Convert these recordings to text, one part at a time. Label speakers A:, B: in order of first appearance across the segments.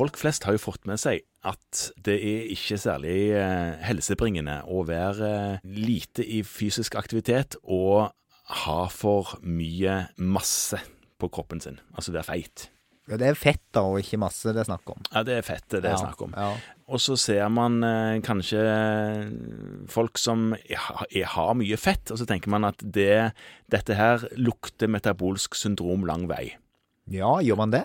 A: folk flest har jo fått med seg at det er ikke særlig eh, helsebringende å være eh, lite i fysisk aktivitet og ha for mye masse på kroppen sin. Altså være feit.
B: Det er fett da, og ikke masse det er snakk om.
A: Ja, det er fett det er
B: Ja,
A: snakk om.
B: Ja.
A: Og så ser man eh, kanskje eh, folk som ha- er- har mye fett, og så tenker man at det, dette her lukter metabolsk syndrom lang vei.
B: ja, gjør man det?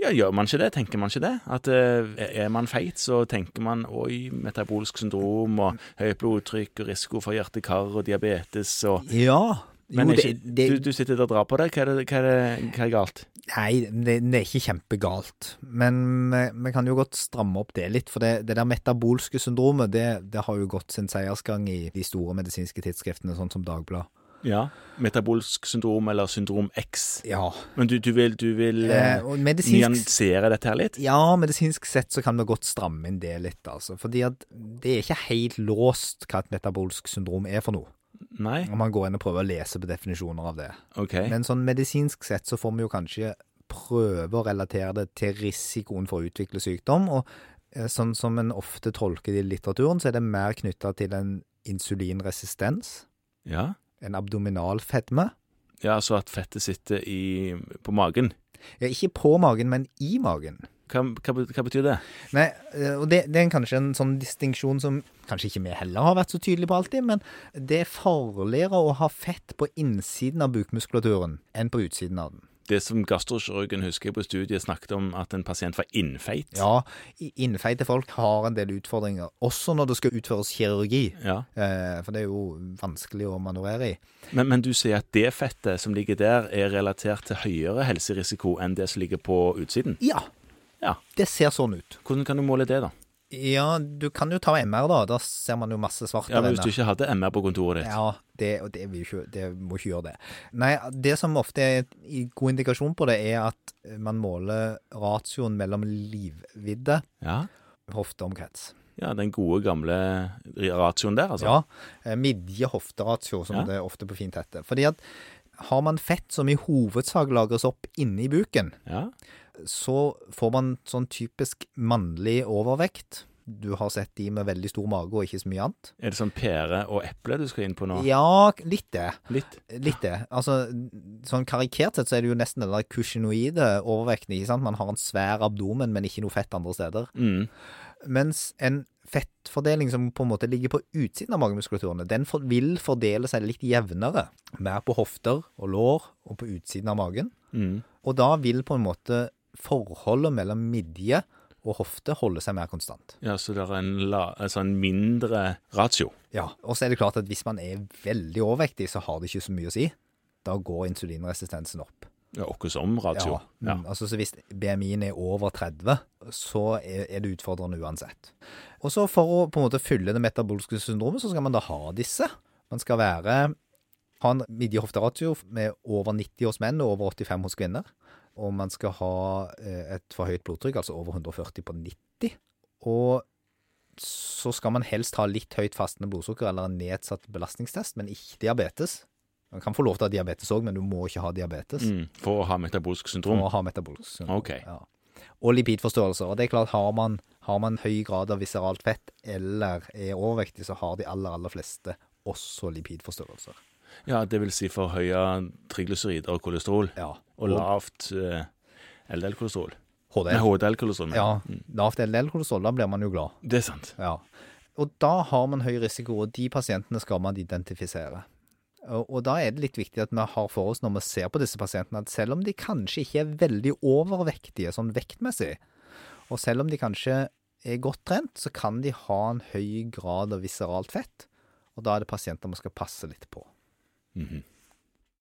A: Ja, gjør man ikke det? Tenker man ikke det? At eh, er man feit, så tenker man oi, metabolsk syndrom og høyt blodtrykk og risiko for hjerte-kar og diabetes og
B: Ja.
A: Men
B: jo,
A: er
B: det,
A: ikke,
B: det,
A: du, du sitter der og drar på deg. Hva er, det, hva er, det, hva er galt?
B: Nei, det, det er ikke kjempegalt. Men vi vi kan jo godt stramme opp det litt. For det, det der metabolske syndromet, det, det har jo gått sin seiersgang i de store medisinske tidsskriftene, sånn som Dagbladet.
A: Ja, Metabolsk syndrom eller syndrom X.
B: Ja.
A: Men du, du vil, du vil eh,
B: Eh, og medisinsk
A: nyansere dette her litt?
B: ja, medisinsk sett så kan vi godt stramme inn det litt, altså. Fordi at det er ikke helt låst hva et metabolsk syndrom er for noe.
A: Nei?
B: Om man går inn og prøver å lese på definisjoner av det.
A: OK.
B: Men sånn medisinsk sett så får vi jo kanskje prøve å relatere det til risikoen for å utvikle sykdom, og eh, sånn som en ofte tolker det i litteraturen, så er det mer knytta til en insulinresistens,
A: Ja.
B: en abdominal fedme.
A: ja, så at fettet sitter i, på magen.
B: Ja, ikke på magen, men i magen.
A: Hva, hva, bet- hva betyr det?
B: Nei, eh, og det, det er kanskje en sånn distinksjon som kanskje ikke vi heller har vært så tydelige på alltid, men det er farligere å ha fett på innsiden av bukmuskulaturen enn på utsiden av den.
A: Det som gastrokirurgen husker jeg på studiet snakket om at en pasient var innfeit.
B: Ja, i- innfeite folk har en del utfordringer, også når det skal utføres kirurgi.
A: Ja.
B: Eh, For det er jo vanskelig å manøvrere i.
A: Men, men du sier at det fettet som ligger der, er relatert til høyere helserisiko enn det som ligger på utsiden?
B: Ja,
A: Ja.
B: det ser sånn ut.
A: Hvordan kan du måle det, da?
B: Ja, du kan jo ta MR, da. Da ser man jo masse svarte
A: Ja, men Hvis
B: renner.
A: du ikke hadde MR på kontoret ditt?
B: Ja, det, og det, vil jo ikke, det må ikke gjøre det. Nei, det som ofte er en god indikasjon på det, er at man måler ratioen mellom livvidde
A: Ja.
B: hofteomkrets.
A: ja, den gode, gamle ratioen der, altså?
B: Ja, eh, midje-hofteratio, som
A: Ja.
B: det ofte på fint heter. Fordi at har man fett som i hovedsak lagres opp inne i buken,
A: Ja.
B: så får man sånn typisk mannlig overvekt. Du har sett de med veldig stor mage og ikke så mye annet.
A: Er det sånn pære og eple du skal inn på nå?
B: Ja, litt det.
A: Litt?
B: Litt det. Altså, sånn karikert sett så er det jo nesten den der kusjinoide overvekten, ikke sant? Man har en svær abdomen, men ikke noe fett andre steder.
A: Mm.
B: Mens en fettfordeling som på en måte ligger på utsiden av magemuskulaturene, den for, vil fordele seg litt jevnere. Mer på hofter og lår og på utsiden av magen.
A: Mm.
B: Og da vil på en måte forholdet mellom midje og hofte holde seg mer konstant.
A: Ja, så det er en, la, altså en mindre ratio?
B: Ja. Og så er det klart at hvis man er veldig overvektig, så har det ikke så mye å si. Da går insulinresistensen opp.
A: Ja, Åkke som ratio.
B: Ja. Mm, Altså, så hvis BMI-en er over 30, så er, er det utfordrende uansett. Og så for å på en måte fylle det metabolske syndromet, så skal man da ha disse. Man skal være ha en midje-hofte-ratio med over 90 hos menn og over 85 hos kvinner. Og man skal ha eh, et for høyt blodtrykk, altså over 140 på 90. Og så skal man helst ha litt høyt fastende blodsukker eller en nedsatt belastningstest, men ikke diabetes. Man kan få lov til å ha diabetes òg, men du må ikke ha diabetes
A: Mm. For å ha metabolsk syndrom?
B: og har metabolsk syndrom.
A: Ok.
B: Ja. Og lipidforståelser. Og det er klart, har man, har man høy grad av viseralt fett eller er overvektig, så har de aller, aller fleste også lipidforståelser.
A: Ja, det vil si forhøya triglycerider og kolesterol.
B: Ja.
A: Og lavt eh, LDL-kolesterol. Nei,
B: HDL.
A: HDL-kolesterol. mener jeg.
B: Ja. Lavt LDL-kolesterol, da blir man jo glad.
A: Det er sant.
B: Ja. Og da har man høy risiko, og de pasientene skal man identifisere. Og og da er det litt viktig at vi har for oss når vi ser på disse pasientene, at selv om de kanskje ikke er veldig overvektige sånn vektmessig, og selv om de kanskje er godt trent, så kan de ha en høy grad av viseralt fett. Og da er det pasienter vi skal passe litt på.
A: Mhm.